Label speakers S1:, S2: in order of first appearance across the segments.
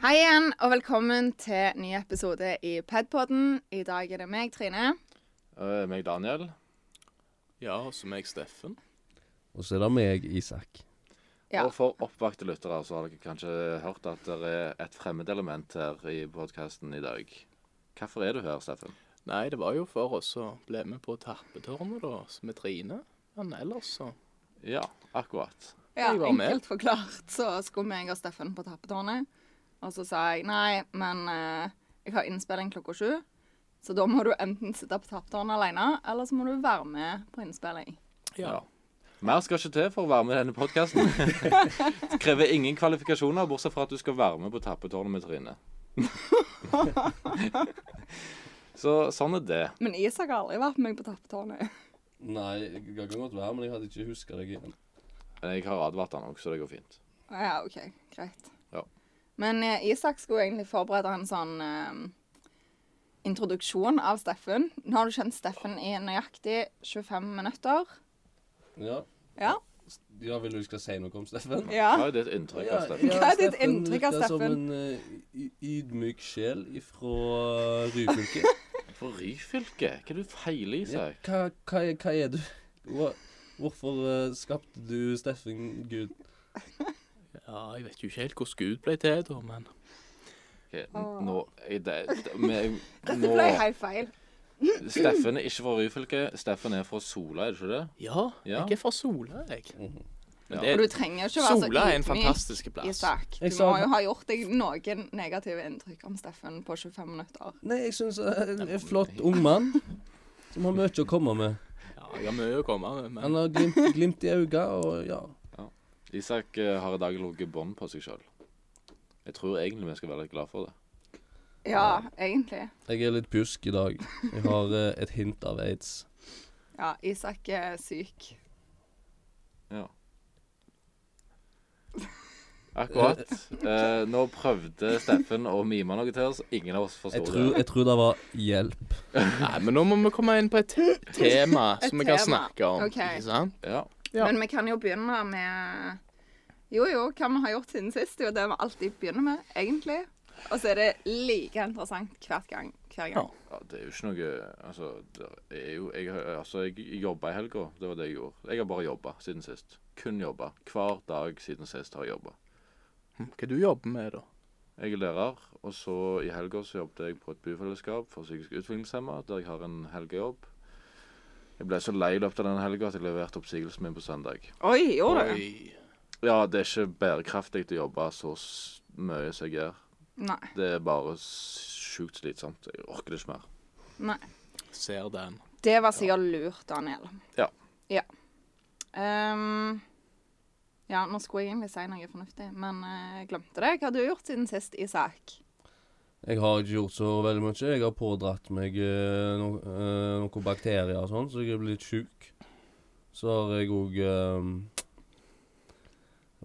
S1: sammen, og velkommen til ny episode i Padpodden. I dag er det meg, Trine.
S2: Uh, meg Daniel.
S3: Ja, og så meg, Steffen.
S4: Og så er det meg, Isak.
S1: Ja.
S2: Og for oppvakte lyttere så har dere kanskje hørt at det er et fremmedelement her i podkasten i dag. Hvorfor er du her, Steffen?
S3: Nei, det var jo for oss å bli med på Tappetårnet, da, s- med Trine. Men ellers så
S2: Ja, akkurat.
S1: Ja,
S3: Jeg var med.
S1: enkelt forklart så skulle meg og Steffen på tappetårnet. Og så sa jeg nei, men eh, jeg har innspilling klokka sju. Så da må du enten sitte på tappetårnet alene, eller så må du være med på innspilling.
S3: Ja.
S2: Mer skal ikke til for å være med i denne podkasten. Krever ingen kvalifikasjoner, bortsett fra at du skal være med på Tappetårnet med Trine. så sånn er det.
S1: Men Isak har aldri vært med meg på tappetårnet.
S4: Nei, jeg kan godt være, men jeg hadde ikke huska deg igjen.
S2: Men jeg har advart han òg, så det går fint.
S1: Ja, OK, greit.
S2: Ja.
S1: Men eh, Isak skulle egentlig forberede en sånn eh, introduksjon av Steffen. Nå har du kjent Steffen i nøyaktig 25 minutter.
S4: Ja.
S1: Ja.
S4: ja, vil du skal si noe om Steffen?
S1: ja.
S2: Hva er ditt inntrykk av Steffen?
S1: Hva er ditt inntrykk av
S4: virker som
S1: Steffen?
S4: en eh, y- ydmyk sjel ifra eh, Ryfylke.
S2: For Ryfylke? Hva er det du feiler i
S4: ja,
S2: seg?
S4: hva, hva, er- hva er du? Hva, hvorfor eh, skapte du Steffen Gud?
S3: ja, jeg vet jo ikke helt hvordan Gud ble til, da, men
S2: Ok, n- nå er det, det men-
S1: Dette
S2: nå-
S1: ble helt feil.
S2: Steffen er ikke fra Ryfylke. Steffen er fra Sola, er det ikke det?
S3: ja,
S2: Ja.
S3: jeg er fra Sola, jeg.
S4: Mhm.
S3: Men
S2: Ja.
S3: det,
S1: Og du trenger ikke være så
S3: Sola er en
S1: ydmyk,
S3: fantastisk plass.
S1: Isak, du
S4: Jeg sa-
S1: må jo ha gjort deg noen negative inntrykk om Steffen på 25 minutter.
S4: Nei, jeg syns en en flott ung mann som har mye å komme med.
S3: Ja, jeg har mye å komme med, men
S4: Han har glimt, glimt i øynene, og ja.
S2: Isak eh, har i dag ligget bånd på seg sjøl. Jeg tror egentlig vi skal være litt glad for det.
S1: Ja, egentlig.
S4: Jeg er litt pjusk i dag. Jeg har eh, et hint av aids.
S1: Ja, Isak er syk.
S2: Ja. Akkurat. Eh, nå prøvde Steffen å mime noe til oss. Ingen av oss
S4: Jeg
S2: forsto
S4: tror,
S2: det.
S4: jeg tror det var hjelp.
S3: Nei, men nå må vi komme inn på et te tema
S1: Et
S3: som vi kan
S1: tema.
S3: snakke om.
S1: Ok.
S3: Ikke sant?
S2: Ja.
S3: Ja.
S1: Men vi kan jo begynne med Jo, jo, hva vi har gjort siden sist. Det er jo det vi alltid begynner med, egentlig. Og så er det like interessant hvert gang. Hver gang.
S2: ja. Det er jo ikke noe Altså, det er jo Jeg, har- altså, jeg jobba i helga. Det var det jeg gjorde. Jeg har bare jobba siden sist. Kun jobba. Hver dag siden sist har jeg jobba.
S3: Hm, Hva du jobber med, da?
S2: Jeg er lærer, og så i helga så jobbet jeg på et byfellesskap for psykisk utviklingshemmede, der jeg har en helgejobb. Jeg ble så lei i løpet av den helga at jeg leverte oppsigelsen min på søndag.
S1: Oi, gjorde du?
S3: Oi.
S2: Ja, det er ikke bærekraftig å jobbe så s- mye som jeg gjør.
S1: Nei.
S2: Det er bare s- sjukt slitsomt. Jeg orker det ikke mer.
S1: Nei.
S3: Ser den.
S1: Det var sikkert lurt, Daniel.
S2: Ja.
S1: Ja. Ehm, ja, nå skulle jeg egentlig si noe fornuftig, men eh, jeg glemte det. Hva har du gjort siden sist, Isak?
S4: Jeg har ikke gjort så veldig mye. Jeg har pådratt meg eh, no, eh, noen bakterier og sånn, så jeg er blitt sjuk. Så har jeg òg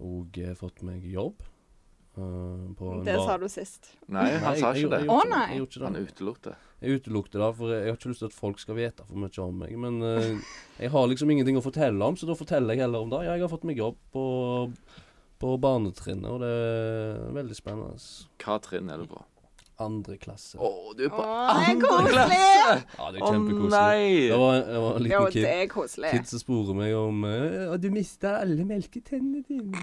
S4: Og fått meg jobb. eh, på en
S1: Det
S4: bar.
S1: sa du sist.
S2: Nei, han sa ikke det.
S1: gjorde- Å,
S4: nei.
S1: nei.
S4: Jeg gjorde ikke det.
S2: Han utelukket det.
S4: Jeg utelukker det, for jeg har ikke lyst til at folk skal vite for mye om meg. Men eh, jeg har liksom ingenting å fortelle om, så da forteller jeg heller om det. Ja, jeg har fått meg jobb på, på barnetrinnet, og det er veldig spennende.
S2: Hva trinn er du på?
S4: Andre klasse.
S2: Å, du er på
S1: Å, det er
S2: andre klasse!
S4: Ja, det er
S2: Å
S4: kjempekoselig.
S2: nei!
S4: Det var, det var en
S1: Jo,
S4: liten
S1: det
S4: kid,
S1: er koselig.
S4: kid som spurte meg om eh, «Å, du mista alle melketennene dine.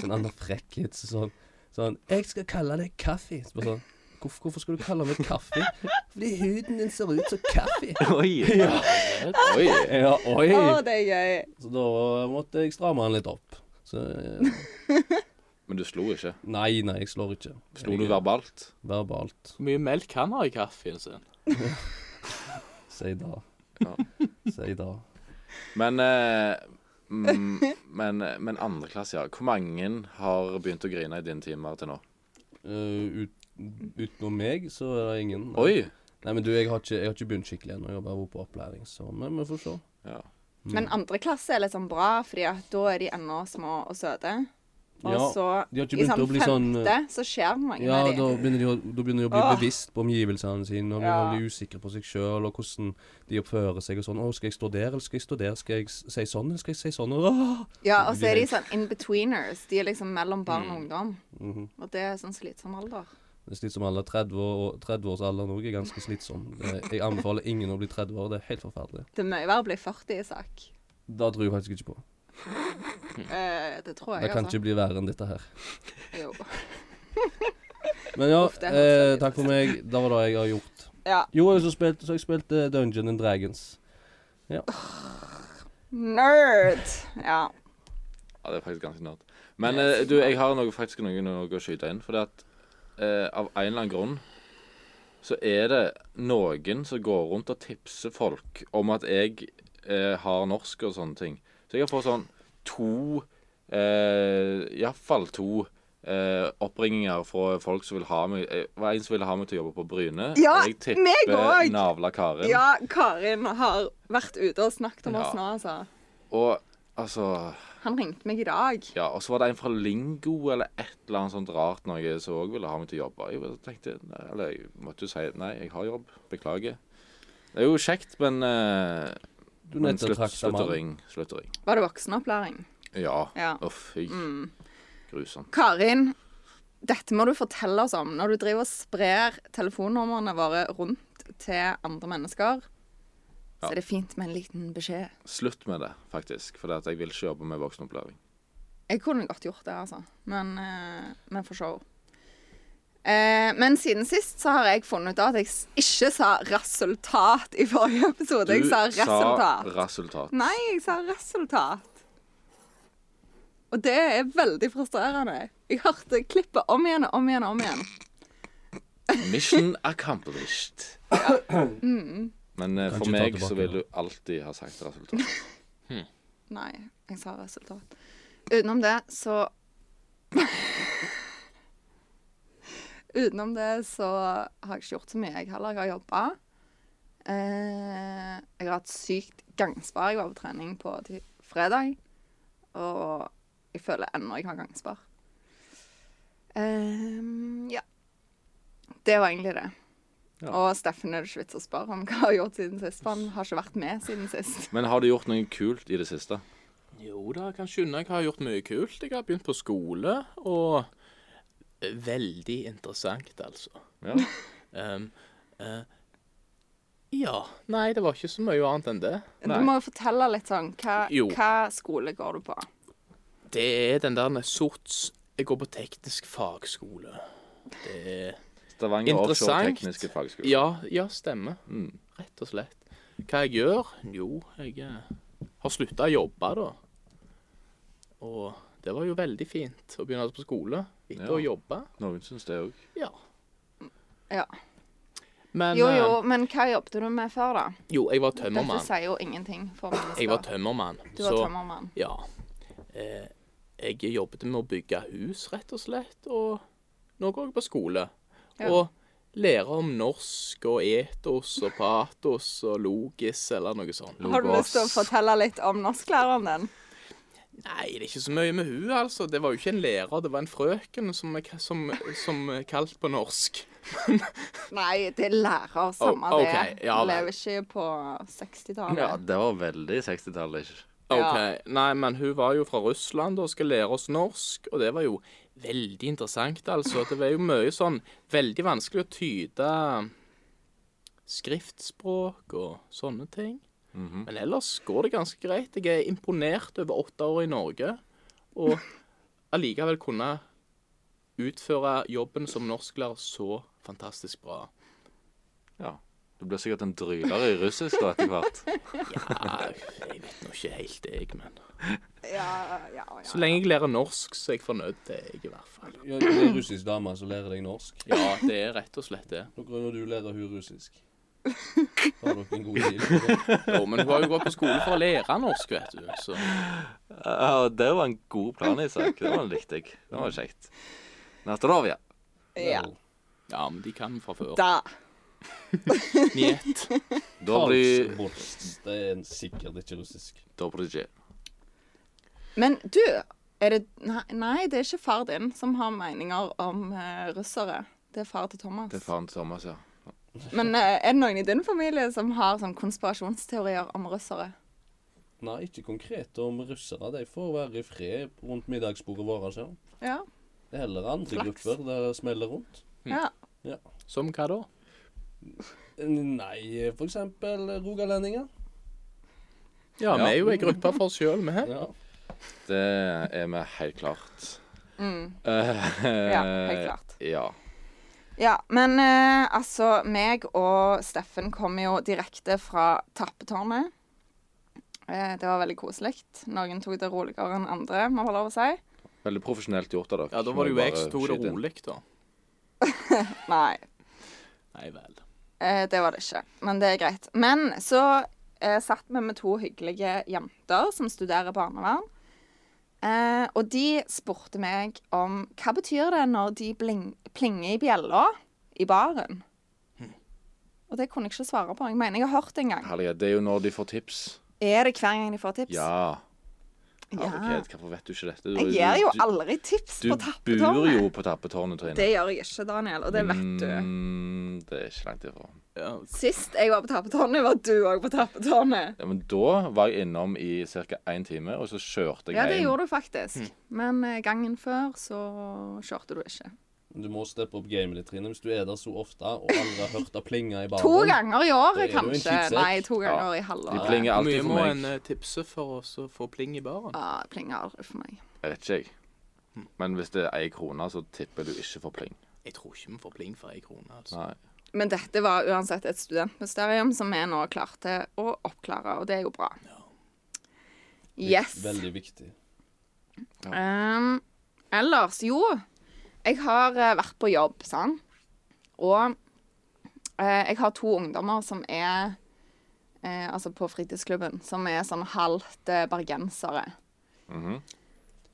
S4: Sånn annen frekk kid som sånn, sånn Jeg skal kalle deg kaffe. Så bare sånn, hvorfor, hvorfor skal du kalle meg kaffe? Fordi huden din ser ut som kaffe.
S2: Oi! Oi!
S4: Ja, oi.
S1: Å, det er gøy.
S4: Så da måtte jeg stramme han litt opp. Så eh,
S2: Men du slo ikke.
S4: Nei, nei, jeg slår ikke.
S2: Slo du
S4: Jeg-
S2: verbalt?
S4: verbalt?
S3: Hvor mye melk han har i kaffen sin?
S4: Si da.
S2: Ja.
S4: Si da.
S2: Men, eh, mm, men, men andre klasse, ja. Hvor mange har begynt å grine i dine timer til nå?
S4: Eh, ut, utenom meg, så er det ingen. Nei.
S2: Oi!
S4: Nei, men du, jeg har ikke, jeg har ikke begynt skikkelig ennå. Jeg har bare vært på opplæring, så men vi får se.
S2: Ja.
S4: Mm.
S1: sånn Men andre klasse er liksom bra, fordi at da er de ennå små og søte. Og
S4: Ja,
S1: så
S4: de har ikke
S1: i
S4: begynt
S1: sånn
S4: å bli sånn, eh,
S1: femte så skjer det noe
S4: Ja,
S1: med
S4: da
S1: dem.
S4: begynner de å, da begynner de å bli
S1: Åh.
S4: bevisst på omgivelsene sine, og blir
S1: Ja.
S4: veldig usikre på seg sjøl, og hvordan de oppfører seg og sånn. 'Å, skal jeg stå der, eller skal jeg stå der? Skal jeg s- si sånn, eller skal jeg si sånn?' Åh!
S1: Ja, og så er de
S4: de-
S1: sånn in-betweeners. De er liksom mellom barn og ungdom.
S4: Mhm.
S1: Og det er sånn slitsom alder.
S4: Det er slitsom alder. 30 år, og 30-årsalderen òg er ganske slitsom. Det, jeg anbefaler ingen å bli 30 år. Det er helt forferdelig.
S1: Det er mye verre å bli 40, Isak.
S4: Da tror jeg faktisk ikke på.
S1: Eh, det tror jeg,
S4: Mm. Det kan ikke bli verre enn dette her.
S1: altså. Jo.
S4: Men ja,
S1: Uff, det er
S4: eh,
S1: helt
S4: takk for meg. Det var det jeg har gjort.
S1: Ja.
S4: Jo, jeg så spilte, så jeg spilte Dungeon and Dragons.
S1: Nerd! Ja.
S2: Ja, det er faktisk ganske nært. Men eh, du, jeg har noe, faktisk noe, noe å skyte inn. For det at eh, av en eller annen grunn så er det noen som går rundt og tipser folk om at jeg eh, har norsk og sånne ting. Så jeg har fått sånn to eh, Iallfall to eh, oppringinger fra folk som vil ha meg eh, var en som ville ha meg til å jobbe på Bryne.
S1: Ja,
S2: jeg
S1: meg
S2: tipper
S1: også!
S2: Navla Karin.
S1: ja, Karin har vært ute og snakket om oss
S2: Ja.
S1: nå, altså.
S2: Og altså
S1: Han ringte meg i dag.
S2: Ja, og så var det en fra Lingo eller et eller annet sånt rart noe som òg ville ha meg til å jobbe. Jeg bare tenkte, nei, eller jeg måtte jo si nei, jeg har jobb, beklager. Det er jo kjekt, men, eh,
S4: Du
S2: men
S4: nettopp
S2: slutt,
S4: trakk deg
S2: slutt å
S4: mann.
S2: ringe. Slutt å ringe.
S1: Var det voksenopplæring?
S2: Ja.
S1: Ja.
S2: Uff, fy.
S1: Mm.
S2: Grusomt.
S1: Karin, dette må du fortelle oss om. Når du driver og sprer telefonnumrene våre rundt til andre mennesker, så
S2: Ja.
S1: er det fint med en liten beskjed.
S2: Slutt med det, faktisk. For jeg vil ikke jobbe med voksenopplæring.
S1: Jeg kunne godt gjort det, altså. Men, eh, men for show. Eh, men siden sist så har jeg funnet ut at jeg s- ikke sa resultat i forrige episode. jeg sa resultat.
S2: resultat.
S1: Nei, jeg sa resultat. Og det er veldig frustrerende. Jeg hørte klippet om igjen og om igjen og om igjen.
S2: Mission accomplished. Mm.
S1: Mm.
S2: Men eh,
S4: Kan
S2: for
S4: ikke ta
S2: meg
S4: tilbake
S2: så vil du
S4: det.
S2: alltid ha sagt resultat.
S1: Nei, jeg sa resultat. Utenom det, så Utenom det så har jeg ikke gjort så mye, jeg heller. Jeg har jobba. Eh, jeg har hatt sykt gangspar. Jeg var på trening på ti- fredag, og jeg føler ennå jeg har gangspar. Eh, ja. Det var egentlig det.
S2: Ja.
S1: Og Steffen er det ikke vits å spørre om hva jeg har gjort siden sist, for han har ikke vært med siden sist.
S2: Men har du gjort noe kult i det siste?
S3: Jo da, jeg kan skynde. Jeg har gjort mye kult. Jeg har begynt på skole, og Veldig interessant, altså.
S2: Ja.
S3: Ehm, eh, ja. Nei, det var ikke så mye annet enn det.
S1: Du
S2: Nei.
S1: må jo fortelle litt sånn, hva,
S3: Jo.
S1: hva skole går du på?
S3: Det er den der sorts Jeg går på teknisk fagskole. Det er
S2: Stavanger Offshore
S3: Interessant.
S2: Tekniske Fagskole.
S3: Ja, ja, stemmer.
S2: Mm.
S3: Rett og slett. Hva jeg gjør? Jo, jeg eh, har slutta å jobbe, da. Og det var jo veldig fint å begynne på skole etter
S2: Ja.
S3: å jobbe.
S2: Noen syns det òg.
S3: Ja.
S1: Ja.
S3: Men
S1: Jo,
S3: eh,
S1: jo, men hva jobbet du med før, da?
S3: jo, jeg var
S1: Dette
S3: tømmermann.
S1: sier jo ingenting for mennesker.
S3: Jeg var tømmermann.
S1: du var
S3: så-
S1: tømmermann.
S3: Ja. Eh, jeg jobbet med å bygge hus, rett og slett, og nå går jeg på skole.
S1: Ja.
S3: Og lærer om norsk og etos og patos og logis eller noe sånt.
S1: Har du lyst til å fortelle litt om norsklæreren din?
S3: Nei, det er ikke så mye med hun, altså. Det var jo ikke en lærer, det var en frøken som er, som, som er kalt på norsk.
S1: Nei, det er lærer, samme
S3: Oh, ok,
S1: det.
S3: ja, vel.
S1: Lever ikke på 60-tallet.
S2: Ja, det var veldig 60-tallet. ikke?
S3: OK.
S1: Ja.
S3: Nei, men hun var jo fra Russland og skal lære oss norsk, og det var jo veldig interessant, altså. Det var jo mye sånn Veldig vanskelig å tyde skriftspråk og sånne ting. Men ellers går det ganske greit. Jeg er imponert over åtte år i Norge, og allikevel kunne utføre jobben som norsklærer så fantastisk bra.
S2: Ja. Du blir sikkert en dryler i russisk da etter hvert.
S3: Ja, jeg vet nå ikke helt, jeg, men
S1: Ja, ja,
S3: Så
S1: ja.
S3: lenge jeg lærer norsk, så er jeg fornøyd, det er jeg i hvert fall.
S4: Ja, det er russisk dame som lærer deg norsk.
S3: Ja, det er rett og slett det.
S4: Nå grunner du lærer hun russisk. Har dere en god deal?
S3: Jo, men hun har jo gått på skole for å lære norsk, vet du. Så
S2: Ja, det var en god plan, Isak. Det var likte jeg. Det var kjekt. Natorovia.
S1: ja.
S3: ja, men de kan fra før.
S1: Da.
S3: Njet.
S2: Da blir
S4: Karlsborst. Det er sikkert ikke russisk.
S2: Dobrije.
S1: Men du, Er det nei, nei, det er ikke far din som har meninger om eh, russere. Det er far til Thomas.
S2: Det er faren til Thomas, ja.
S1: Men eh, er det noen i din familie som har sånn konspirasjonsteorier om russere?
S4: Nei, ikke konkret om russere. De får være i fred rundt middagsbordet vårt. Altså.
S1: Ja.
S4: Det er heller andre
S1: Flaks.
S4: grupper der det smeller rundt.
S3: Hm.
S1: ja.
S3: Som hva da?
S4: Nei, for eksempel rogalendinger.
S3: Ja, vi
S2: Ja.
S3: er jo ei gruppe for oss sjøl, vi.
S4: Ja.
S2: Det er vi helt klart.
S1: Mm.
S2: ja,
S1: helt klart.
S2: Ja.
S1: Ja, men eh, altså Meg og Steffen kom jo direkte fra Tappetårnet. Eh, det var veldig koselig. Noen tok det roligere enn andre, må vel lov å si.
S2: Veldig profesjonelt gjort av dere.
S3: Ja, da var det jo
S2: Må
S3: jeg som
S2: bare
S3: tok det
S2: skyte inn.
S3: rolig, da.
S1: Nei,
S3: Nei vel.
S1: eh, det var det ikke. Men det er greit. Men så eh, satt vi med to hyggelige jenter som studerer barnevern. Eh, og de spurte meg om hva betyr det når de bling, plinger i bjella i baren. Og det kunne jeg ikke svare på. Jeg mener jeg har hørt det en gang.
S2: Herlighet, det er jo når de får tips.
S1: Er det hver gang de får tips?
S2: Ja.
S1: Ja.
S2: Herlighet, hvorfor vet du ikke dette? Du,
S1: Jeg
S2: du-
S1: gir jo
S2: du-
S1: aldri tips på
S2: Du bor
S1: tappetårnet.
S2: jo på tappetårnet, Trine.
S1: Det gjør jeg ikke, Daniel, og det vet du.
S2: Mm, det er ikke langt ifra.
S3: Ja,
S1: Sist jeg var på tappetårnet, var du òg på tappetårnet.
S2: Ja, men da var jeg innom i ca. én time, og så kjørte jeg
S1: Ja, det
S2: hjem.
S1: gjorde du
S2: Hm.
S1: faktisk. Men eh, gangen før så kjørte du ikke.
S4: Du må steppe opp gamet ditt, Trine, hvis du er der så ofte og aldri har hørt det plinge i baren.
S1: To ganger i året,
S4: Det er jo en
S1: kanskje.
S4: kidsekk.
S1: Nei, to ganger i
S2: De
S1: halvåret.
S2: plinger
S3: Hvor
S2: alltid
S3: mye
S2: for
S3: må
S2: meg.
S3: en eh, tipse for oss å få pling i baren?
S1: Ja, det plinger aldri for meg.
S2: Jeg vet ikke, jeg. Men hvis det er ei krone, så tipper du ikke for pling.
S3: Jeg tror ikke vi får pling for ei krone. altså.
S2: Nei.
S1: Men dette var uansett et studentmysterium som vi nå klarte å oppklare, og det er jo bra. Yes.
S4: Veldig viktig.
S1: Ehm, ellers, jo. Jeg har eh, vært på jobb, sant. Og eh, jeg har to ungdommer som er eh, Altså på fritidsklubben, som er sånn halvt eh, bergensere.
S4: Mhm.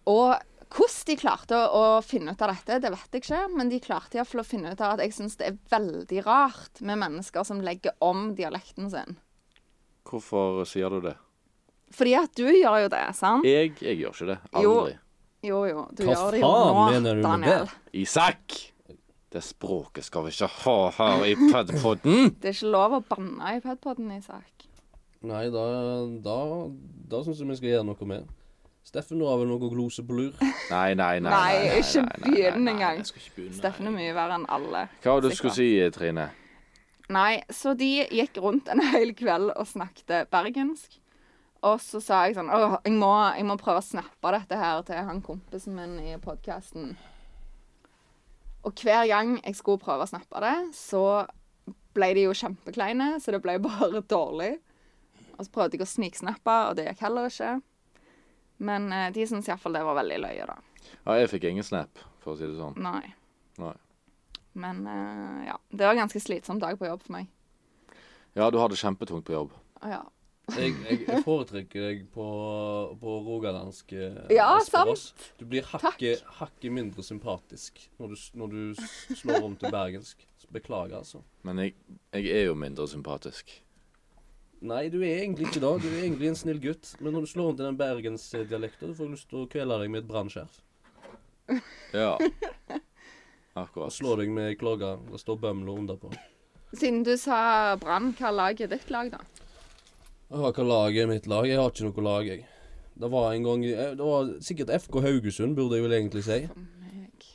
S1: Og hvordan de klarte å, å finne ut av dette, det vet jeg ikke. Men de klarte i hvert fall å finne ut av at jeg syns det er veldig rart med mennesker som legger om dialekten sin.
S2: Hvorfor sier du det?
S1: Fordi at du gjør jo det, sant?
S2: Jeg, jeg gjør ikke det.
S1: Jo.
S2: Aldri.
S1: Jo, jo. Du
S4: E- Hva
S1: gjør det jo
S4: faen
S1: nå,
S4: mener du med
S1: Daniel.
S4: det?
S2: Isak! Det språket skal vi ikke ha her i Pudpodden.
S1: Det er ikke lov å banne i padpoden, Isak.
S4: Nei, da, da, da syns jeg vi skal gjøre noe med. Steffen, nå har vel noe glose på lur.
S2: Nei, nei, nei.
S1: Nei,
S2: nei, nei,
S1: ikke
S2: nei, nei, nei,
S1: begynn
S2: nei.
S1: engang.
S3: Jeg skal ikke begynne.
S1: Steffen er mye verre enn alle.
S2: Hva var det du
S1: sikkert.
S2: skulle si, Trine?
S1: Nei, så de gikk rundt en hel kveld og snakket bergensk. Og så sa jeg sånn Åh, jeg må, jeg må prøve å snappe dette her til han kompisen min i podkasten. Og hver gang jeg skulle prøve å snappe det, så ble de jo kjempekleine, så det ble bare dårlig. Og så prøvde jeg å sniksnappe, og det gikk heller ikke. Men eh, de syntes iallfall det var veldig løye, da.
S2: Ja, jeg fikk ingen snap, for å si det sånn.
S1: Nei.
S2: Nei.
S1: Men eh, ja. Det var en ganske slitsom dag på jobb for meg.
S2: Ja, du har det kjempetungt på jobb.
S1: Å, ja.
S4: Jeg, jeg, jeg foretrekker deg på, på rogalandsk eh,
S1: Ja,
S4: Esperås. Du blir hakket hakke mindre sympatisk når du, s- når du s- slår om til bergensk. Så Beklager, altså.
S2: Men jeg, jeg er jo mindre sympatisk.
S4: Nei, du er egentlig ikke det. Du er egentlig en snill gutt. Men når du slår om til den bergensdialekten, får jeg lyst til å kvele deg med et brannskjerf.
S2: Ja.
S4: Og
S2: Akkurat.
S4: slå deg med ei klogge. Det står Bømlo underpå.
S1: Siden du sa Brann, hva lag er ditt lag, da?
S4: Hva hva lag er mitt lag? Jeg har ikke noe lag, jeg. Det var en gang eh, Det var sikkert FK Haugesund, burde jeg vel egentlig si.
S1: Meg.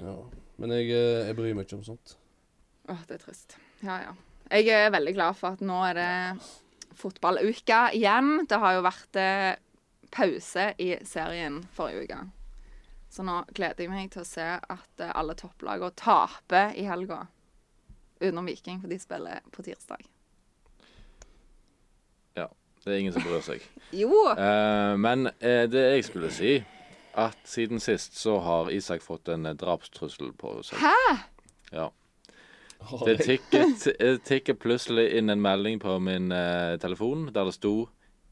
S4: Ja. Men jeg, eh, jeg bryr meg ikke om sånt.
S1: Åh, det er trist. Ja, ja. Jeg er veldig glad for at nå er det fotballuke igjen. Det har jo vært eh, pause i serien forrige uke. Så nå gleder jeg meg til å se at eh, alle topplagene taper i helga. Utenom Viking, for de spiller på tirsdag.
S2: Ja. Det er ingen som bryr seg.
S1: Jo!
S2: Eh, men eh, det jeg skulle si, at siden sist så har Isak fått en eh, drapstrussel på seg.
S1: Hæ?
S2: Ja.
S4: Har
S2: Det
S4: jeg-
S2: tikket, eh, tikket plutselig inn en melding på min eh, telefon der det sto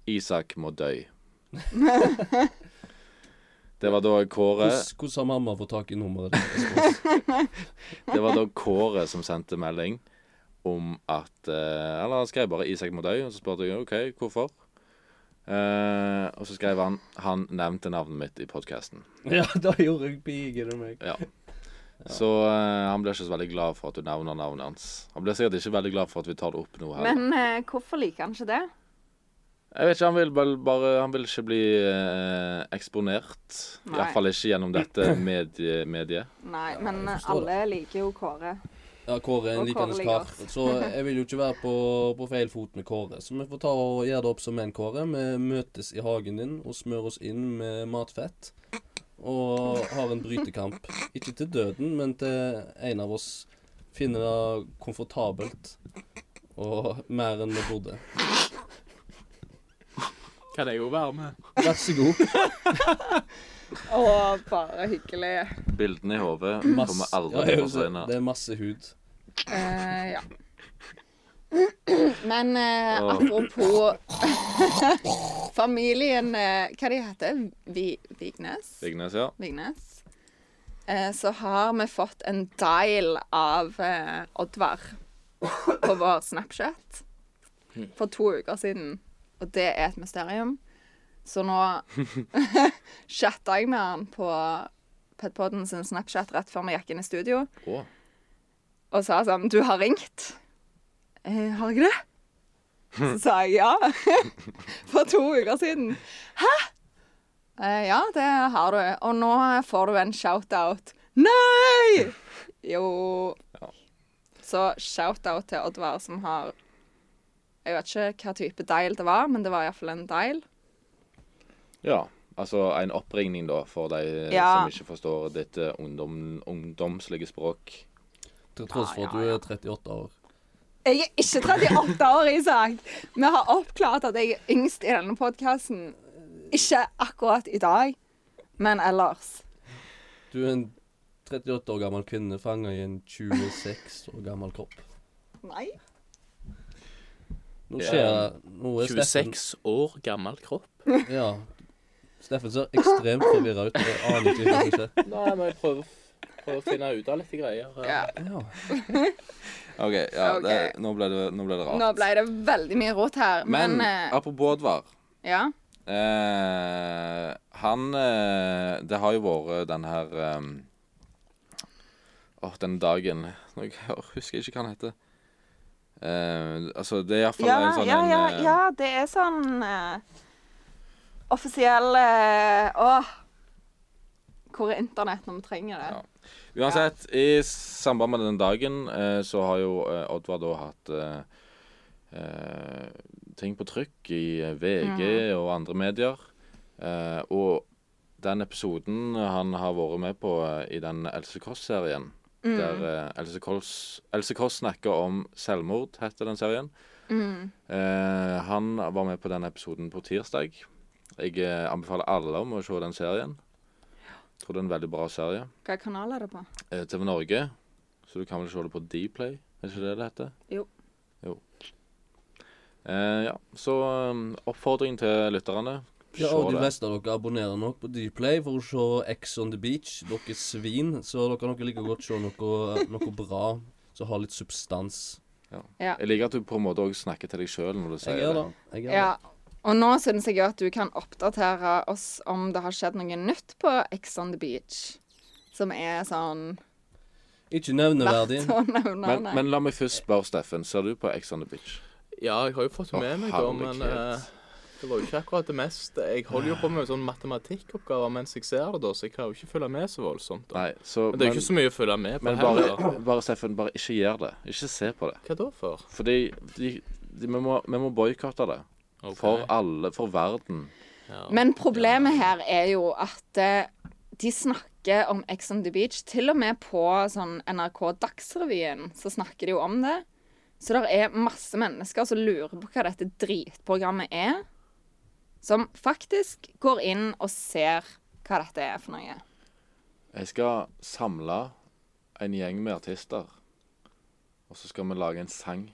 S2: 'Isak må dø'. Det var da Kåre
S4: Hvordan hvordan har mamma fått tak i nummeret ditt?
S2: Det var da Kåre som sendte melding om at eh, Eller han skrev bare 'Isak må dø', og så spurte jeg OK, hvorfor? Eh, og så skrev han han nevnte navnet mitt i podkasten.
S4: Ja, da gjorde jeg pigen om meg.
S2: Ja. Så eh, han blir ikke så veldig glad for at du nevner navnet hans. Han blir sikkert ikke veldig glad for at vi tar det opp nå heller.
S1: Men eh, hvorfor liker han ikke det?
S2: Jeg vet ikke, han vil vel bare Han vil ikke bli eh, eksponert.
S1: Nei.
S2: Iallfall ikke gjennom dette medie, mediet.
S1: Nei, men
S4: jeg
S1: eh,
S4: forstår
S1: alle liker jo Kåre.
S4: Ja, Kåre er en
S1: Og Kåre
S4: likende
S1: ligger
S4: kar. Så jeg vil jo ikke være på, på feil fot med Kåre. Så vi får ta og gjøre det opp som en, Kåre. Vi møtes i hagen din og smører oss inn med matfett. Og har en brytekamp. Ikke til døden, men til en av oss finner det komfortabelt. Og mer enn vi burde.
S3: Kan jeg jo være med?
S4: Vær så god.
S1: Å, bare hyggelig.
S2: Bildene i hodet
S4: Masse,
S2: kommer
S4: ja,
S2: aldri til å
S4: jeg husker det.
S2: forsvinne.
S4: det er masse hud.
S1: Eh, ja. Men eh,
S2: Åh.
S1: apropos familien eh, Hva de heter Vi, Vignes?
S2: Vignes, ja.
S1: Vignes. Eh, så har vi fått en dial av eh, Oddvar på vår Snapchat for to uker siden. Og det er et mysterium. Så nå chatta jeg med han på Petpodden sin Snapchat rett før vi gikk inn i studio
S2: Å.
S1: og sa sånn Du har ringt. Eh, har jeg det? Så sa jeg ja. For to uker siden. Hæ? Eh, ja, det har du. Og nå får du en shout-out. Nei! Jo.
S2: Ja.
S1: Så shout-out til Oddvar, som har Jeg vet ikke hva type deil det var, men det var iallfall en deil.
S2: Ja. Altså en oppringning, da, for de eh,
S1: Ja.
S2: som ikke forstår dette ungdom, ungdomslige språk.
S4: Til tross for at du er 38 år.
S1: Jeg er ikke 38 år, Isak. Vi har oppklart at jeg er yngst i denne podkasten. Ikke akkurat i dag, men ellers.
S4: Du er en 38 år gammel kvinne fanga i en 26 år gammel kropp.
S1: Nei.
S4: Nå
S2: Ja.
S4: skjer det Nå er Steffen
S3: 26 år gammel kropp.
S4: Ja. Steffen ser ekstremt forvirra ut. Jeg aner ikke hva som skjer.
S3: Nei, men jeg prøver, prøver å finne ut av litt greier.
S1: Ja.
S4: Ja.
S2: OK, ja,
S1: Ok.
S2: Det, nå, ble det, nå ble det rart.
S1: Nå ble det veldig mye rot her, men,
S2: Men sånn
S1: eh,
S2: apropos Oddvar.
S1: Ja.
S2: Eh, han eh, Det har jo vært den her eh, Åh, den dagen Nå jeg hø- husker jeg ikke hva han heter. Eh, altså, det er iallfall
S1: Ja,
S2: en sånn
S1: ja,
S2: en,
S1: ja,
S2: eh,
S1: ja, det er sånn eh, offisiell eh, Åh. Hvor er internett når vi trenger det?
S2: Ja. Uansett, i samband med den dagen eh, så har jo eh, Oddvar da hatt eh, eh, ting på trykk i eh, VG og andre medier. Eh, og den episoden han har vært med på eh, i den Else Kåss-serien, der eh, Else Kåss Else Kåss snakker om selvmord, heter den serien. Eh, han var med på den episoden på tirsdag. Jeg eh, anbefaler alle om å se den serien. Tror det er en veldig bra serie
S1: Hva kanal er det på?
S2: eh, TV Norge. Så du kan vel se det på Dplay? Er det ikke det det heter?
S1: Jo.
S2: Jo. Eh, ja, så um, oppfordring til lytterne. Se
S4: Ja, og de
S2: det.
S4: fleste av dere abonnerer nok på Dplay for å se X on the Beach. Dere er svin, så dere kan nok like godt se noe, noe bra som har litt substans.
S1: Ja.
S2: Jeg liker at du på en måte òg snakker til deg sjøl når du sier
S4: Jeg gjør det.
S2: det.
S4: Jeg gjør det.
S1: Ja. Og nå syns jeg jo at du kan oppdatere oss om det har skjedd noe nytt på Ex on the Beach. Som er sånn
S4: Ikke nevneverdig.
S1: verdt å
S2: Men,
S1: nevne.
S2: men la meg først spørre Steffen. Ser du på Ex on the Beach?
S3: Ja, jeg har jo fått med
S2: Å,
S3: meg da, men
S2: herlighet.
S3: eh, det var jo ikke akkurat det mest. Jeg holder jo på med sånn matematikkoppgaver mens jeg ser det, da, så jeg klarer jo ikke å følge med så voldsomt. Da.
S2: Nei, så
S3: Men det er jo ikke så mye å følge med på
S2: men
S3: heller.
S2: bare, bare Steffen, bare ikke gjør det. Ikke se på det.
S3: Hva da for?
S2: Fordi de, de, vi må, vi må boikotte det.
S3: Ok.
S2: For alle, for verden.
S3: Ja.
S1: Men problemet her er jo at eh, de snakker om Ex on the Beach. Til og med på sånn NRK Dagsrevyen så snakker de jo om det. Så det er masse mennesker som lurer på hva dette dritprogrammet er. Som faktisk går inn og ser hva dette er for noe.
S2: Jeg skal samle en gjeng med artister, og så skal vi lage en sang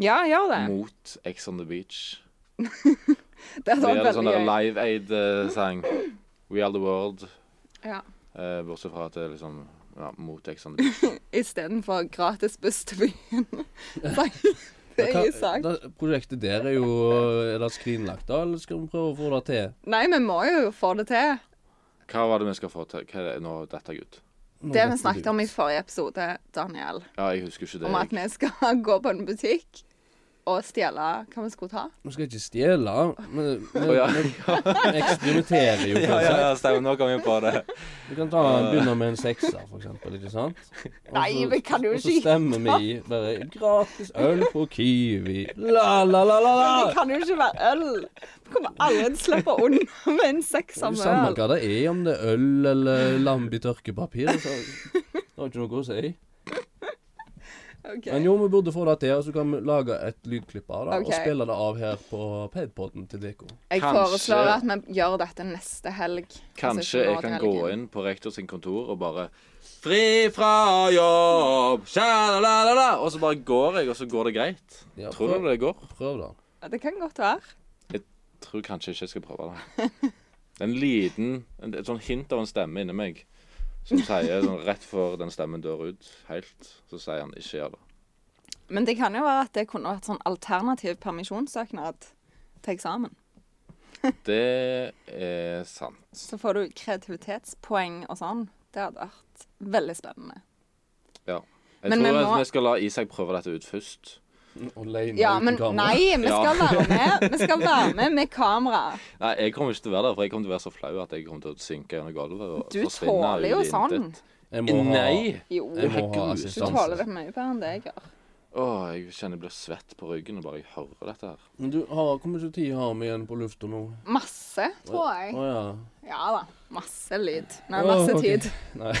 S1: Ja, gjør det.
S2: mot Ex on the Beach.
S1: Det
S2: Mm. Det
S1: hadde
S2: er
S1: vært
S2: en
S1: veldig
S2: sånn der
S1: gøy.
S2: Live Aid-sang. We are the world.
S1: Ja.
S2: Eh, bortsett fra at det er liksom ja, mot Ex on the Beach.
S1: Istedenfor gratis buss til byen. Sang- Det er jeg
S4: Hva-
S1: sagt.
S4: da- Prosjektet der er jo Er det skrinlagt, da? Eller skal vi prøve å få det til?
S1: Nei, vi må jo få det til.
S2: Hva var det vi skal få til? Hva er det nå dette, gutt?
S4: Nå
S1: Det
S4: vet
S1: vi
S4: du.
S1: snakket om i forrige episode, Daniel.
S2: Ja, jeg husker ikke det.
S1: Om at
S2: Jeg.
S1: vi skal gå på en butikk og stjele hva vi skulle ta.
S4: Vi skal ikke stjele, men vi
S2: Å, ja.
S4: vi eksperimenterer jo.
S5: Ja, ja,
S4: kanskje.
S5: ja, stemmer. Nå kom vi på det.
S4: Vi kan ta,
S2: Eh.
S4: begynne med en sekser, for eksempel. Ikke sant? Og
S1: Nei,
S4: så-
S1: vi kan jo
S4: Og så
S1: ikke.
S4: stemmer vi i bare gratis øl på Kiwi. La, la, la, la,
S2: Ah.
S4: la.
S1: Det kan jo ikke være øl! Vi kommer aldri til å slippe unna med en sekser
S4: Det er jo
S1: med
S4: samme
S1: øl.
S4: hva det er, om det er øl eller lambi tørkepapir. Så det har ikke noe å si.
S1: Ok.
S4: Men jo, vi burde få det til, og så kan vi lage et lydklipp av det. Og
S1: Ok.
S4: spille det av her på Padpodden til Deko.
S1: Jeg
S2: Kanskje-
S1: foreslår at vi gjør dette neste helg. Altså,
S2: Kanskje jeg kan gå inn på rektor sin kontor og bare Fri fra jobb! Sjalalala! Og så bare går jeg, og så går det greit.
S4: Ja,
S2: Tror du
S4: prøv,
S2: det går?
S4: prøv da.
S1: Det kan godt være.
S2: Tror kanskje ikke jeg skal prøve det. Det er en liten en, Et sånn hint av en stemme inni meg som sier sånn rett før den stemmen dør ut helt, så sier han ikke gjør det.
S1: Men det kan jo være at det kunne vært sånn alternativ permisjonssøknad til eksamen.
S2: Det er sant.
S1: Så får du kreativitetspoeng og sånn. Det hadde vært veldig spennende.
S2: Jeg
S1: Men vi
S2: tror
S1: må-
S2: at vi skal la Isak prøve dette ut først.
S4: Alene
S1: Ja,
S4: uten
S1: men
S4: kamera.
S1: nei, vi skal
S2: Ja.
S1: være med. Vi skal være med med kamera.
S2: Nei, jeg kommer ikke til å være der, for jeg kommer til å være så flau at jeg kommer til å synke gjennom gulvet og
S1: Du
S2: forsvinne
S1: tåler
S2: ut
S1: jo
S2: i intet.
S1: sånn.
S4: Jeg må ha,
S2: Nei!
S1: Jo,
S4: jeg må ha
S2: Herregud.
S1: du tåler
S4: assistanse.
S1: det mye bedre enn det jeg gjør.
S2: Å, jeg kjenner jeg blir svett på ryggen og bare jeg hører dette her.
S4: Men du, har, hvor mye tid har vi igjen på lufta nå?
S1: Masse, tror
S4: Å
S1: jeg.
S4: ja.
S1: Ja da. Masse lyd. Nei,
S4: Å,
S1: masse
S4: ok.
S1: tid.
S4: Nei,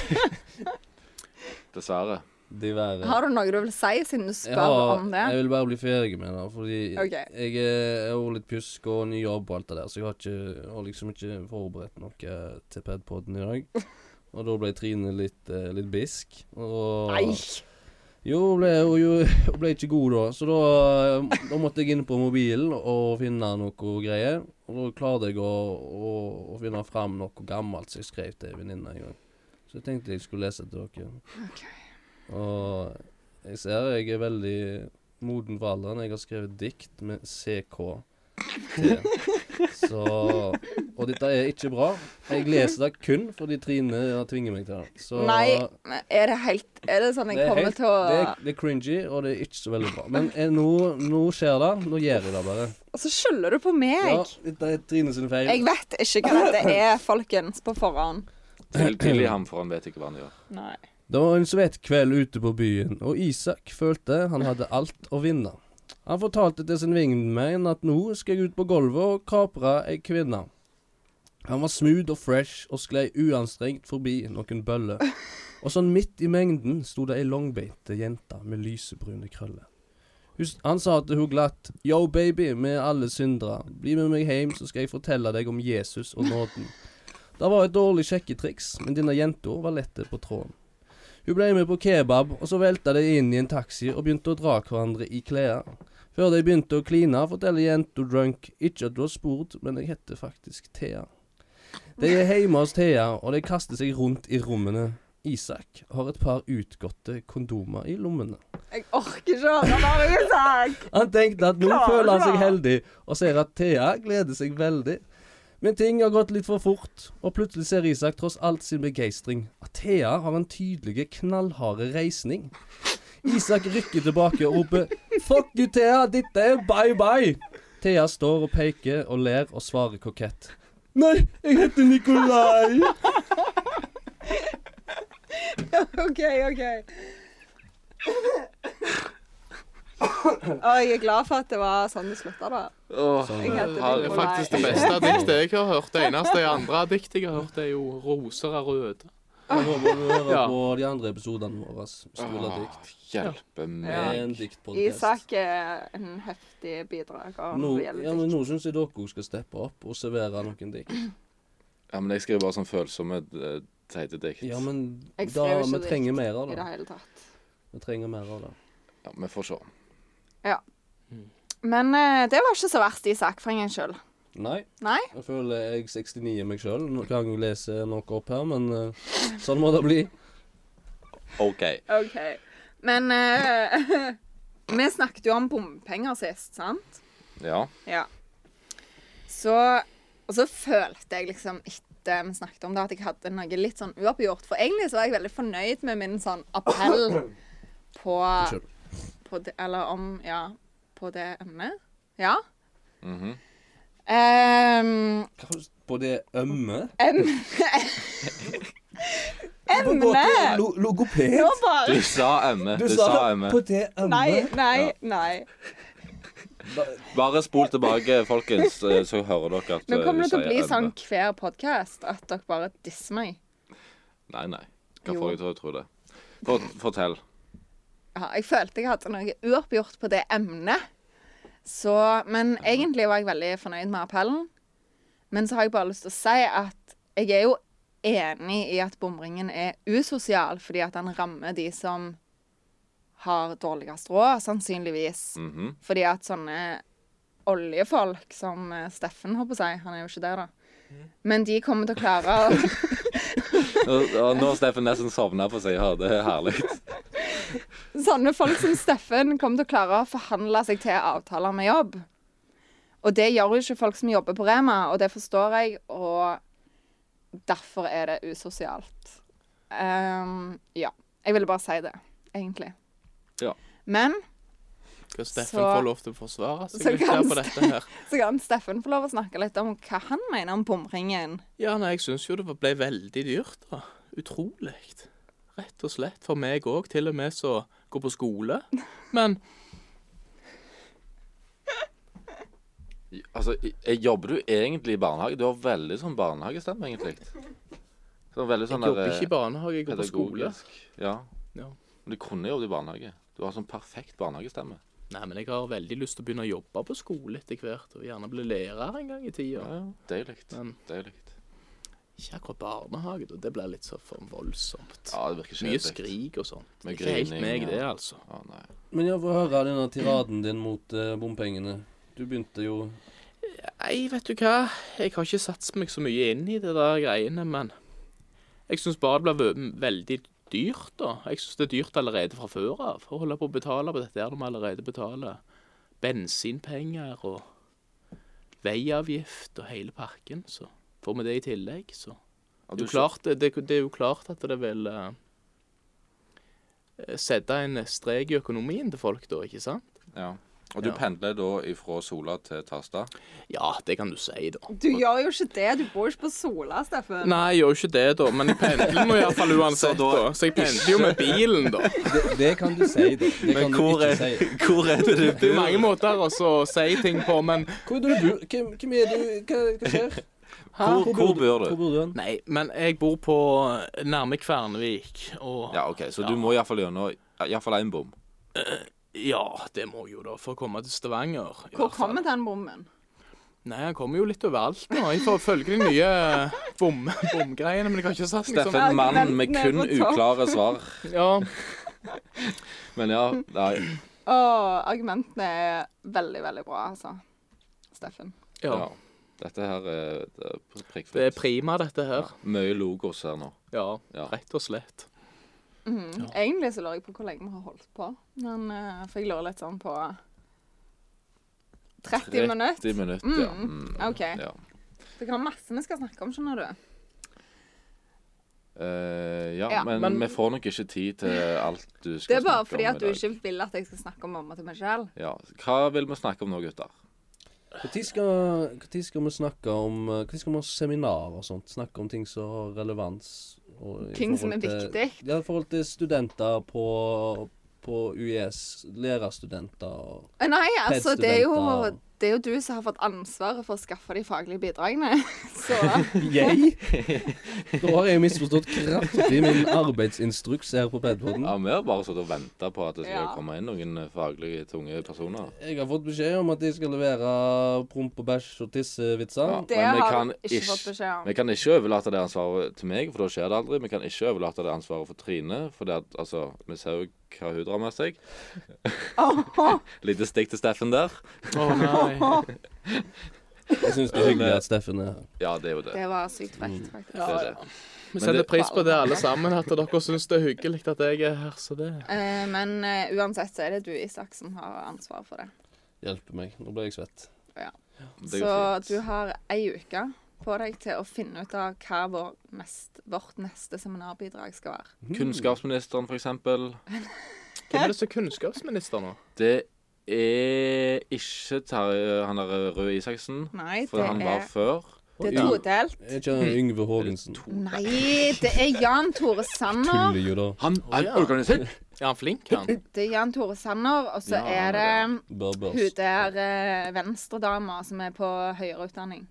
S2: Dessverre.
S4: de verre.
S1: Har du noe du vil si, siden du
S4: Jeg
S1: spør
S4: har-
S1: om det?
S4: Jeg vil bare bli ferdig med det, fordi
S1: Ok.
S4: jeg er jo litt pjusk og ny jobb og alt det der, så jeg har, ikke, har liksom ikke forberedt noe eh, til Padpodden i dag. Og da ble Trine litt, eh, litt bisk. Og
S1: Nei.
S4: Jo, hun ble, hun, jo- hun ble ikke god da, så da, eh, da måtte jeg inn på mobilen og finne noe greier. Og da klarte jeg å, å, å finne fram noe gammelt som jeg skrev til en venninne en gang. Så jeg tenkte jeg skulle lese til dere.
S1: Ok.
S4: Og jeg ser jeg er veldig moden for alderen. Jeg har skrevet dikt med CK. Så Og dette er ikke bra. Jeg leser det kun fordi Trine tvinger meg til det. Så
S1: Nei, men er det helt Er det sånn jeg
S4: det er,
S1: kommer
S4: helt,
S1: til å
S4: det, er, det er cringy, og det er ikke så veldig bra. Men eh, nå, nå skjer det. Nå gjør jeg det bare.
S1: Og så skylder du på meg!
S4: Ja, dette er Trine sin feil.
S1: Jeg vet ikke hva dette er, folkens, på forhånd.
S2: Til- Tilgi ham, for han vet ikke hva han gjør.
S1: Nei.
S4: Det var en svett kveld ute på byen, og Isak følte han hadde alt å vinne. Han fortalte til sin wingman at nå skal jeg ut på gulvet og kapre ei kvinne. Han var smooth og fresh og sklei uanstrengt forbi noen bøller. Og sånn midt i mengden sto det ei langbeinte jente med lysebrune krøller. Hus- Han sa til hun glatt, 'Yo, baby, med alle syndere, bli med meg hjem, så skal jeg fortelle deg om Jesus og nåden'. Det var et dårlig sjekketriks, men denne jenta var lette på tråden. Hun ble med på kebab, og så velta de inn i en taxi og begynte å dra hverandre i klærne. Før de begynte å kline, forteller jenta drunk ikke at du har spurt, men jeg heter faktisk Thea. De er hjemme hos Thea, og de kaster seg rundt i rommene. Isak har et par utgåtte kondomer i lommene.
S1: Jeg orker ikke høre mer, Isak!
S4: Han tenkte at nå
S1: Klar,
S4: føler han seg
S1: bra.
S4: heldig, og ser at Thea gleder seg veldig. Men ting har gått litt for fort, og plutselig ser Isak tross alt sin begeistring at Thea har en tydelig knallharde reisning. Isak rykker tilbake og roper 'Fuck you, Thea! Dette er bye bye!' Thea står og peker og ler og svarer kokett. 'Nei, jeg heter Nikolai'.
S1: OK, OK. Å, jeg er glad for at det var sånn det slutta, da.
S2: Åh,
S1: Jeg heter
S2: har-
S3: Det er
S1: Nikolai.
S3: faktisk det beste diktet jeg har hørt. Det eneste andre diktet jeg har hørt, er jo 'Roser er røde'.
S4: Jeg håper du hører
S3: Ja.
S4: på de andre episodene våre. Stoler dikt.
S2: hjelpe
S4: Det er
S2: meg.
S4: en diktpodkast.
S1: Isak er en heftig bidrager
S4: Nå,
S1: når det
S4: ja,
S1: gjelder
S4: men
S1: dikt.
S4: nå syns jeg dere skal steppe opp og servere noen dikt.
S2: Ja, men jeg skriver bare sånn følsomme, eh, teite dikt.
S4: Ja,
S2: Ja,
S4: men
S1: Jeg
S4: da,
S1: skrev jo ikke
S4: vi
S1: dikt
S4: trenger mer av
S1: I det
S4: det.
S1: hele tatt.
S4: Vi trenger mer av det.
S2: Vi får se.
S1: Men eh, det var ikke så verst, Isak, for en gangs skyld.
S4: Nei,
S1: Nei?
S4: jeg føler jeg 69 meg sjøl. Nå kan jeg jo lese noe opp her, men eh, sånn må det bli.
S2: OK.
S1: OK. Men eh, Vi snakket jo om bompenger sist, sant?
S2: Ja.
S1: Ja. Så, og så følte jeg liksom etter vi snakket om det, at jeg hadde noe litt sånn uoppgjort. For egentlig så var jeg veldig fornøyd med min sånn appell på,
S4: Unnskyld.
S1: på det, Eller om Ja, på det emnet. Ja.
S2: Mhm.
S1: Ehm,
S4: Hva var det- På det ømme?
S1: em-
S4: På- på-
S1: Emne!
S4: lo- Logoped?
S1: Nå bare
S2: Du sa emme. Du,
S4: Du
S2: sa E.
S4: sa
S2: emme.
S4: det på det ømme.
S1: Nei, nei, nei.
S2: Bare spol tilbake, folkens, eh, så hører dere at
S1: Nå
S2: eh,
S1: kommer
S2: du
S1: det til å
S2: sier
S1: bli
S2: emme.
S1: sånn hver podkast at dere bare disser meg.
S2: Nei, nei. Hva
S1: Jo.
S2: får jeg til å tro det? For, fortell.
S1: ja, jeg følte jeg hadde noe uoppgjort på det emnet. Så, men egentlig var jeg veldig fornøyd med appellen. Men så har jeg bare lyst til å si at jeg er jo enig i at bomringen er usosial, fordi at den rammer de som har dårligst råd, sannsynligvis.
S2: Mhm.
S1: Fordi at sånne oljefolk som eh, Steffen, holdt på å si, han er jo ikke det, da. Men de kommer til å klare å
S2: Nå- og Nå har Steffen nesten sovna på seg her. Det er herlig.
S1: Sånne folk som Steffen kommer til å klare å forhandle seg til avtaler med jobb. Og det gjør jo ikke folk som jobber på Rema, og det forstår jeg, og derfor er det usosialt. Ehm, ja. Jeg ville bare si det, egentlig.
S2: Ja.
S1: Men
S3: Skal Steffen
S1: Så-
S3: få lov til å forsvare
S1: Så
S3: seg litt der
S1: kan
S3: på dette her?
S1: så kan Steffen få lov å snakke litt om hva han mener om bomringen.
S3: Ja, nei, jeg syns jo det ble veldig dyrt, da. Utrolig. Rett og slett. For meg òg, til og med som går på skole. Men
S2: Altså, jeg jobber du egentlig i barnehage? Du har veldig sånn barnehagestemme, egentlig. Sånn veldig sånn
S3: jeg jobber
S2: der, eh,
S3: ikke i barnehage, jeg går på skole.
S2: pedagogisk. Ja.
S3: Ja.
S2: Men du kunne jobbet i barnehage. Du har sånn perfekt barnehagestemme.
S3: Nei, men jeg har veldig lyst til å begynne å jobbe på skole etter hvert, og gjerne bli lærer en gang i
S2: Ja,
S3: tida.
S2: ja. Deilig.
S3: Men-
S2: Deilig.
S3: Ikke akkurat barnehage, da. Det blir litt så for voldsomt.
S2: Ja, det virker
S3: Mye
S2: kjedelig.
S3: skrik og sånt.
S2: Med
S3: Ikke helt
S2: grining,
S3: meg,
S2: ja.
S3: det, altså.
S2: Å, nei.
S4: Men jeg får høre denne tiraden din mot eh, bompengene. Du begynte jo
S3: Nei, vet du hva. Jeg har ikke satt meg så mye inn i det der greiene, men jeg syns bare det blir ve- veldig dyrt, da. Jeg syns det er dyrt allerede fra før av å holde på å betale på dette her når vi allerede betaler bensinpenger og veiavgift og hele pakken. Så får vi det i tillegg, så
S2: Ja,
S3: det er, jo
S2: skjø-
S3: klart, det, det, det er jo klart at det vil eh, sette en strek i økonomien til folk, da, ikke sant?
S2: Ja. Og du
S3: Ja.
S2: pendler da ifra Sola til Tasta.
S3: Ja, det kan du si, da.
S1: Du gjør jo ikke det. Du bor jo ikke på Sola, Steffen.
S3: Nei, jeg gjør jo ikke det, da. Men jeg pendler nå iallfall
S2: Så
S3: uansett,
S2: da-
S3: da. Så jeg pendler jo med bilen, da.
S4: Det, det kan du si, det. Det kan du ikke si.
S2: hvor er det du
S3: Det er jo mange måter også å si ting på, men
S4: Hvor er det du bor? Hvem, hvem er du? Hva, hva skjer?
S2: Hvor, hvor bor
S4: Hvor
S2: du?
S4: bor du hen?
S3: Nei, men jeg bor på nærme Kvernvik, og ja.
S2: Ja, OK, så du må iallfall gjennom iallfall én bom.
S3: det må jeg jo, da, for å komme til Stavanger. i
S1: Hvor
S3: hvert fall.
S1: kommer den bommen?
S3: Nei, han kommer jo litt overalt nå. Jeg får følge de nye bom, bomgreiene, men jeg har ikke satt meg sånn
S2: Steffen, mannen med
S1: Ned
S2: kun
S1: på topp.
S2: uklare svar.
S3: Ja,
S2: Men ja, nei.
S1: Åh, argumentene er veldig, veldig bra, altså. Steffen.
S3: ja.
S2: Ja. Dette her er det er prikkfritt.
S3: Det er prima, dette her.
S2: Mye logos her nå.
S3: Ja,
S2: Ja.
S3: rett og slett.
S1: Mm. Egentlig så lurer jeg på hvor lenge vi har holdt på. Men eh, for jeg lurer litt sånn på 30 minutter.
S2: 30 minutter, ja.
S1: Mm.
S2: Mm.
S1: OK.
S2: ja.
S1: Det kan være masse vi skal snakke om, skjønner du.
S2: Eh, ja,
S1: Ja,
S2: men,
S3: men-
S2: vi får nok ikke tid til alt du skal snakke om.
S1: Det er bare fordi
S2: i
S1: at du
S2: dag.
S1: ikke vil at jeg skal snakke om mamma til meg selv.
S2: Ja. Hva vil vi snakke om nå, gutter?
S4: Når skal, hvor tid skal vi snakke om eh, Når skal vi ha seminar og sånt? Snakke om ting som har relevans? Og i
S1: Ting som
S4: forhold
S1: er
S4: til-
S1: viktig.
S4: Ja, i forhold til studenter på, på UiS. Lærerstudenter og
S1: Eh, Nei, altså, det er jo
S4: PED-studenter.
S1: det er jo du som har fått ansvaret for å skaffe de faglige bidragene. Så
S4: Jeg? Da har jeg misforstått kraftig min arbeidsinstruks her på Pedpoden.
S2: Ja, Vi har bare sittet og venta på at det skal
S1: Ja.
S2: komme inn noen faglig tunge personer.
S4: Jeg har fått beskjed om at jeg skal levere promp og bæsj og tissevitser.
S2: Ja,
S1: det
S2: men vi
S1: har
S2: kan
S1: du ikke fått beskjed om.
S2: Vi kan ikke overlate det ansvaret til meg, for da skjer det aldri. Vi kan ikke overlate det ansvaret for Trine, for det at, altså, vi ser jo hva hun drar med seg.
S1: Åh,
S2: Lite stikk til Steffen der.
S3: Å nei.
S4: Jeg syns det er hyggelig at Steffen er her.
S2: Ja, det er jo det.
S1: Det var sykt frekt, faktisk.
S2: Det er det.
S3: Vi
S2: setter
S3: setter pris på det, alle
S1: alle
S3: sammen, at dere syns det er hyggelig at jeg er her. så det...
S1: Eh, men eh, uansett så er det du, Isak, som har ansvar for det.
S4: Hjelpe meg. Nå ble jeg svett.
S2: det
S1: Så
S2: går fint.
S1: du har ei uke på deg til å finne ut av hva vår nest, vårt neste seminarbidrag skal være.
S2: Mm. Kunnskapsministeren, for eksempel.
S3: Hvem er det som er kunnskapsminister nå?
S2: Det er ikke Terje Han der Røe Isaksen,
S1: Nei,
S2: for
S1: det
S2: han var
S1: er,
S2: før.
S1: det er todelt.
S4: Jeg kjenner Yngve Haagensen.
S1: Nei, det er Jan Tore Sanner.
S4: Tuller jo da.
S2: Han er
S3: ja.
S2: organisert!
S3: Er han flink, han?
S1: Det er Jan Tore Sanner, og så
S2: Ja,
S1: er det
S4: Bare
S1: hun
S4: børst.
S1: der eh, venstredama som er på høyere utdanning.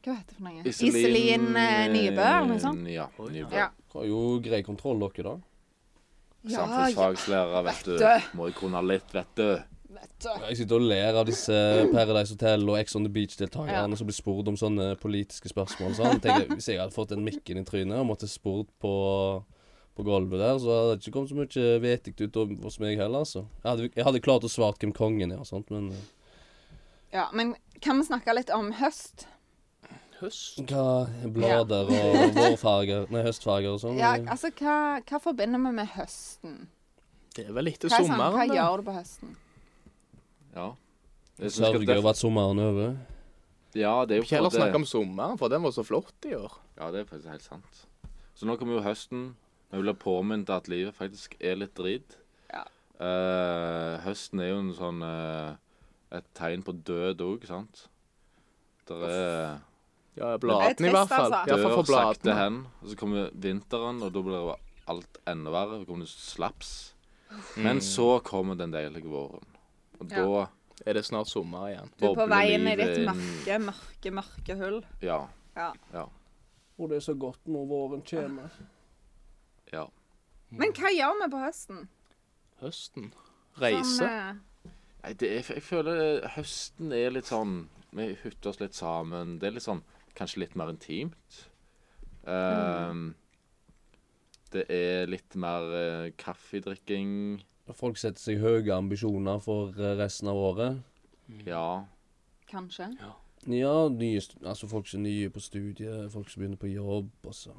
S1: Hva heter det for noe? Iselin eh, Nybø, eller noe sånt?
S2: Ja. Nybø.
S1: Ja.
S4: Har jo grei kontroll, dere, da.
S1: Ja, ja,
S2: Samfunnsfagslærer, vet du.
S1: Vet
S2: Må jo kunne litt, vet du.
S1: vet du.
S4: Jeg sitter og ler av disse Paradise Hotel og Ex on the Beach-deltakerne
S1: Ja.
S4: som blir spurt om sånne politiske spørsmål. Sånn. Tenker, jeg, hvis jeg hadde fått den mikken i trynet og måtte spurt på, på gulvet der, så hadde det ikke kommet så mye vettig ut om- hos meg heller, altså. Jeg hadde, jeg hadde klart å svare hvem kongen er og sånt, men eh,
S1: Ja, men kan vi snakke litt om høst?
S3: Høst?
S4: sånn Hva blader og vårfarger Nei, høstfarger og sånn.
S1: Ja,
S4: eh,
S1: altså, hva, hva forbinder vi med høsten?
S3: Det er vel etter
S1: Hva, er sånn, hva
S3: sommeren, da.
S1: gjør du på høsten?
S2: Ja. Jeg synes
S4: Sørger
S2: at det,
S4: over at sommeren er over.
S2: ja, det er jo
S3: Vi kan heller
S2: på en måte-
S3: snakke om sommeren, for den var så flott i år.
S2: Ja, det er faktisk helt sant. Så nå kommer jo høsten. Vi blir påminnet at livet faktisk er litt drit.
S1: Ja.
S2: Eh, høsten er jo en sånn eh, et tegn på død òg, sant? Der er
S3: Ja,
S1: Det er
S3: bladene i
S1: trist,
S3: hvert fall.
S1: altså.
S3: I hvert fall
S2: dør
S3: for
S2: sakte
S3: bladene.
S2: hen. Og så kommer vinteren, og da blir det alt enda verre. Da kommer det slaps. Men så kommer den deilige våren. Og da
S1: Ja.
S3: Er det snart sommer igjen?
S1: Du er på
S2: bobler
S1: vei inn i
S2: livet
S1: ditt
S2: inn-
S1: mørke, mørke, mørke hull.
S2: Ja.
S1: Ja.
S2: Ja.
S4: Og det er så godt når våren kommer.
S2: ja.
S1: Men hva gjør vi på høsten?
S3: Høsten.
S1: Sånn,
S3: Reise.
S1: eh,
S2: Nei, det er, jeg føler høsten er litt sånn Vi hytter oss litt sammen. Det er litt sånn kanskje litt mer intimt. Ehm, Det er litt mer eh, kaffedrikking.
S4: Folk setter seg høye ambisjoner for eh, resten av året.
S2: Ja.
S1: kanskje.
S4: Ja, nye, stu- altså folk som er nye på studiet, folk som begynner på jobb, og så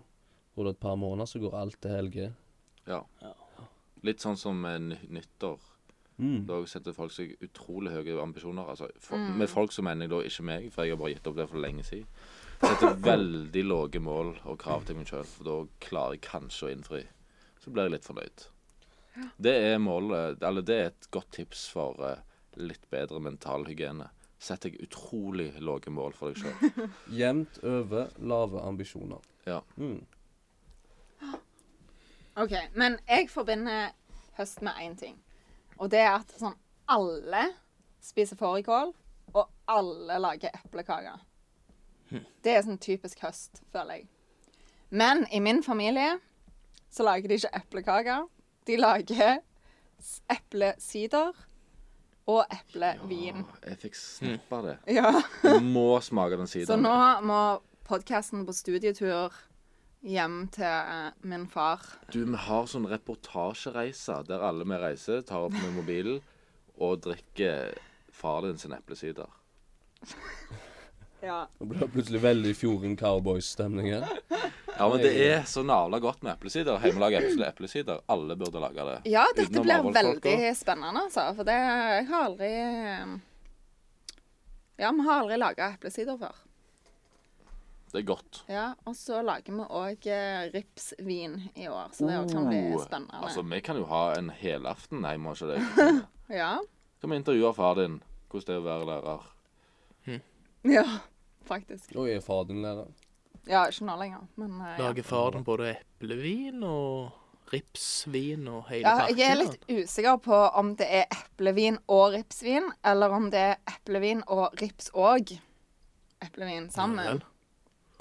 S4: går det et par måneder, så går alt til helge.
S2: ja. Litt sånn som eh, ny- nyttår. Da setter folk seg utrolig høye ambisjoner. Altså, for,
S1: Mm.
S2: Med folk så mener jeg da ikke meg, for jeg har bare gitt opp det for lenge siden. Setter veldig lave mål og krav til meg sjøl, for da klarer jeg kanskje å innfri. Så blir jeg litt fornøyd. Det er målet, eller det er et godt tips for eh, litt bedre mental hygiene. Sett deg utrolig lave mål for deg sjøl.
S4: Jevnt over lave ambisjoner.
S2: Ja.
S1: OK. Men jeg forbinder høst med én ting. Og det er at sånn alle spiser fårikål, og alle lager eplekaker.
S2: Hm.
S1: Det er sånn typisk høst, føler jeg. Men i min familie så lager de ikke eplekaker. De lager s- eplesider og eplevin.
S2: Jeg fikk snappa det.
S1: Ja.
S2: Jeg må smake den
S1: Så
S2: siden.
S1: nå må podkasten på studietur hjem til eh, min far.
S2: Du, vi har sånn reportasjereiser der alle vi reiser, tar opp med mobilen og drikker far din sin eplesider.
S1: Ja.
S4: Nå ble det plutselig veldig Fjorden Cowboys-stemning her.
S2: Ja, men det er så navla godt med eplesider. Hjemmelaga eple- eplesider. Alle burde lage det.
S1: dette
S2: Utenom
S1: blir
S2: avholdsfolka.
S1: veldig spennende, altså. For det jeg har aldri eh, Ja, vi har aldri laga eplesider før.
S2: Det er godt.
S1: Ja, Og så lager vi òg ripsvin i år, så det òg kan bli
S2: Oh,
S1: spennende.
S2: Altså, vi kan jo ha en helaften hjemme hos deg.
S1: Ja.
S2: Kan vi intervjue far din? Hvordan det er å være lærer.
S1: ja. Faktisk.
S4: Og er far din lærer?
S1: Ja, ikke nå lenger, men eh, ja.
S3: Lager faren både eplevin og ripsvin og hele
S1: Ja, jeg er
S3: pakken,
S1: litt usikker på om det er eplevin og ripsvin, eller om det er eplevin og rips og eplevin
S3: han.
S1: sammen.
S3: Vel.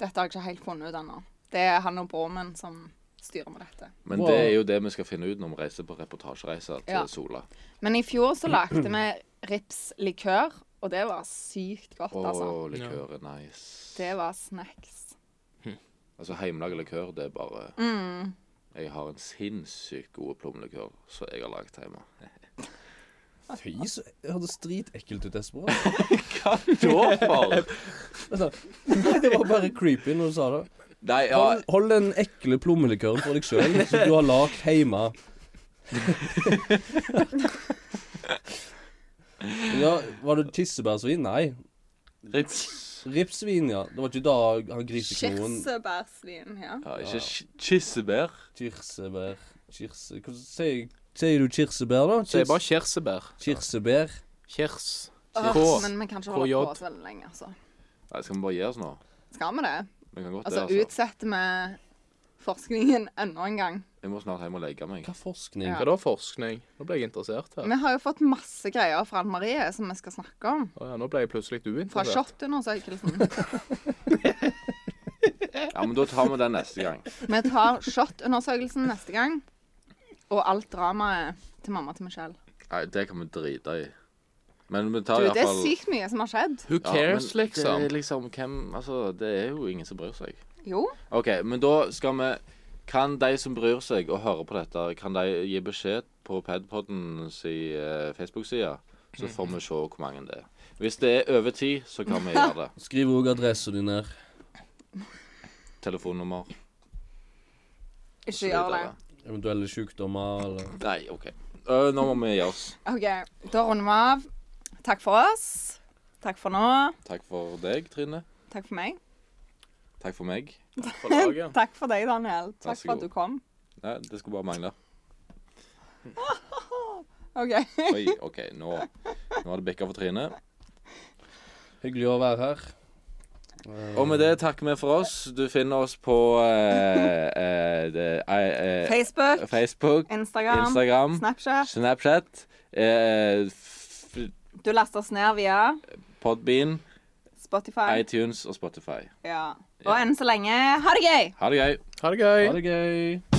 S1: Dette har jeg ikke helt funnet ut ennå. Det er han og Bormen som styrer med dette.
S2: Men
S4: Wow.
S2: det er jo det vi skal finne ut når vi reiser på reportasjereiser til
S1: Ja.
S2: Sola.
S1: Men i fjor så lagde vi ripslikør, og det var sykt godt,
S2: Å,
S1: altså.
S2: likør er nice.
S1: Det var snacks.
S2: Altså, hjemmelaga likør, det er bare
S1: Mm.
S2: Jeg har en sinnssykt god plommelikør som jeg har laget hjemme.
S4: Fy, så det hørtes dritekkelt ut, Espro.
S2: Da for?
S4: Nei, det var bare creepy når du sa det.
S2: Nei, ja
S4: Hold, hold den ekle plommelikøren for deg sjøl, som du har lagd hjemme. ja, var det tissebærsvin? Nei.
S2: Rips.
S4: Ripsvin, ja. Det var ikke da han griseknoen
S1: Kirsebærsvin, ja.
S2: Ja, ikke ki- kirsebær.
S4: Kirsebær Kirse... Hvordan sier, sier du kirsebær, da?
S3: Så det er bare kirsebær.
S4: Kirsebær.
S3: Kjers.
S1: Åh,
S3: K.
S1: men vi kan ikke holde på
S3: KJ.
S1: så veldig lenge, altså.
S2: Nei, skal vi bare gi oss nå?
S1: Skal vi det?
S2: Vi kan godt
S1: Altså,
S2: det, altså.
S1: utsetter vi forskningen enda en gang.
S2: Jeg må snart hjem og legge meg.
S4: Hva forskning?
S1: Ja.
S3: Hva da, forskning? Nå ble jeg interessert her.
S1: Vi har jo fått masse greier fra Anne Marie som vi skal snakke om.
S3: Å ja, nå ble jeg plutselig
S1: Fra
S3: uinteressert.
S1: SHoT-undersøkelsen.
S2: Ja, men da tar vi den neste gang.
S1: Vi tar SHoT-undersøkelsen neste gang. Og alt dramaet til mamma til Michelle.
S2: Nei, det kan vi drite i. Men vi
S1: Du,
S2: tar
S1: det er
S2: iallfall
S1: sykt mye som har skjedd.
S3: Who cares, liksom?
S2: Det er liksom hvem Altså, det er jo ingen som bryr seg.
S1: Jo.
S2: OK, men da skal vi Kan de som bryr seg og hører på dette, kan de gi beskjed på Padpodden si eh, Facebook-side? Så får vi se hvor mange det er. Hvis det er over ti, så kan vi gjøre det.
S4: Skriv òg adressen din ned.
S2: Telefonnummer. så
S1: Ikke gjør det.
S2: videre.
S4: Eventuelle sykdommer eller
S2: Nei, OK. Ø, nå må vi gi oss.
S1: OK, da runder vi av. Takk for oss. Takk for nå.
S2: Takk for deg, Trine.
S1: Takk for meg.
S2: Takk for meg.
S3: Fra laget.
S1: Takk for deg, Daniel.
S2: Vær
S1: Takk
S2: så
S1: for at
S2: god.
S1: du kom.
S2: Nei, det skulle bare mangle.
S1: OK.
S2: Oi, OK, nå Nå har det bikka for Trine.
S4: Hyggelig å være her. Eh,
S2: Og med det takker vi for oss. Du finner oss på eh, eh, det- eh, eh,
S1: Facebook,
S2: Facebook,
S1: Instagram,
S2: Instagram,
S1: Snapchat.
S2: Snapchat, eh, f-
S1: Du laster oss ned via
S2: Podbean,
S1: Spotify.
S2: iTunes og Spotify.
S1: Ja. Og enn så lenge, ha det gøy!
S2: Ha det gøy.
S3: Ha det gøy.
S4: Ha det gøy.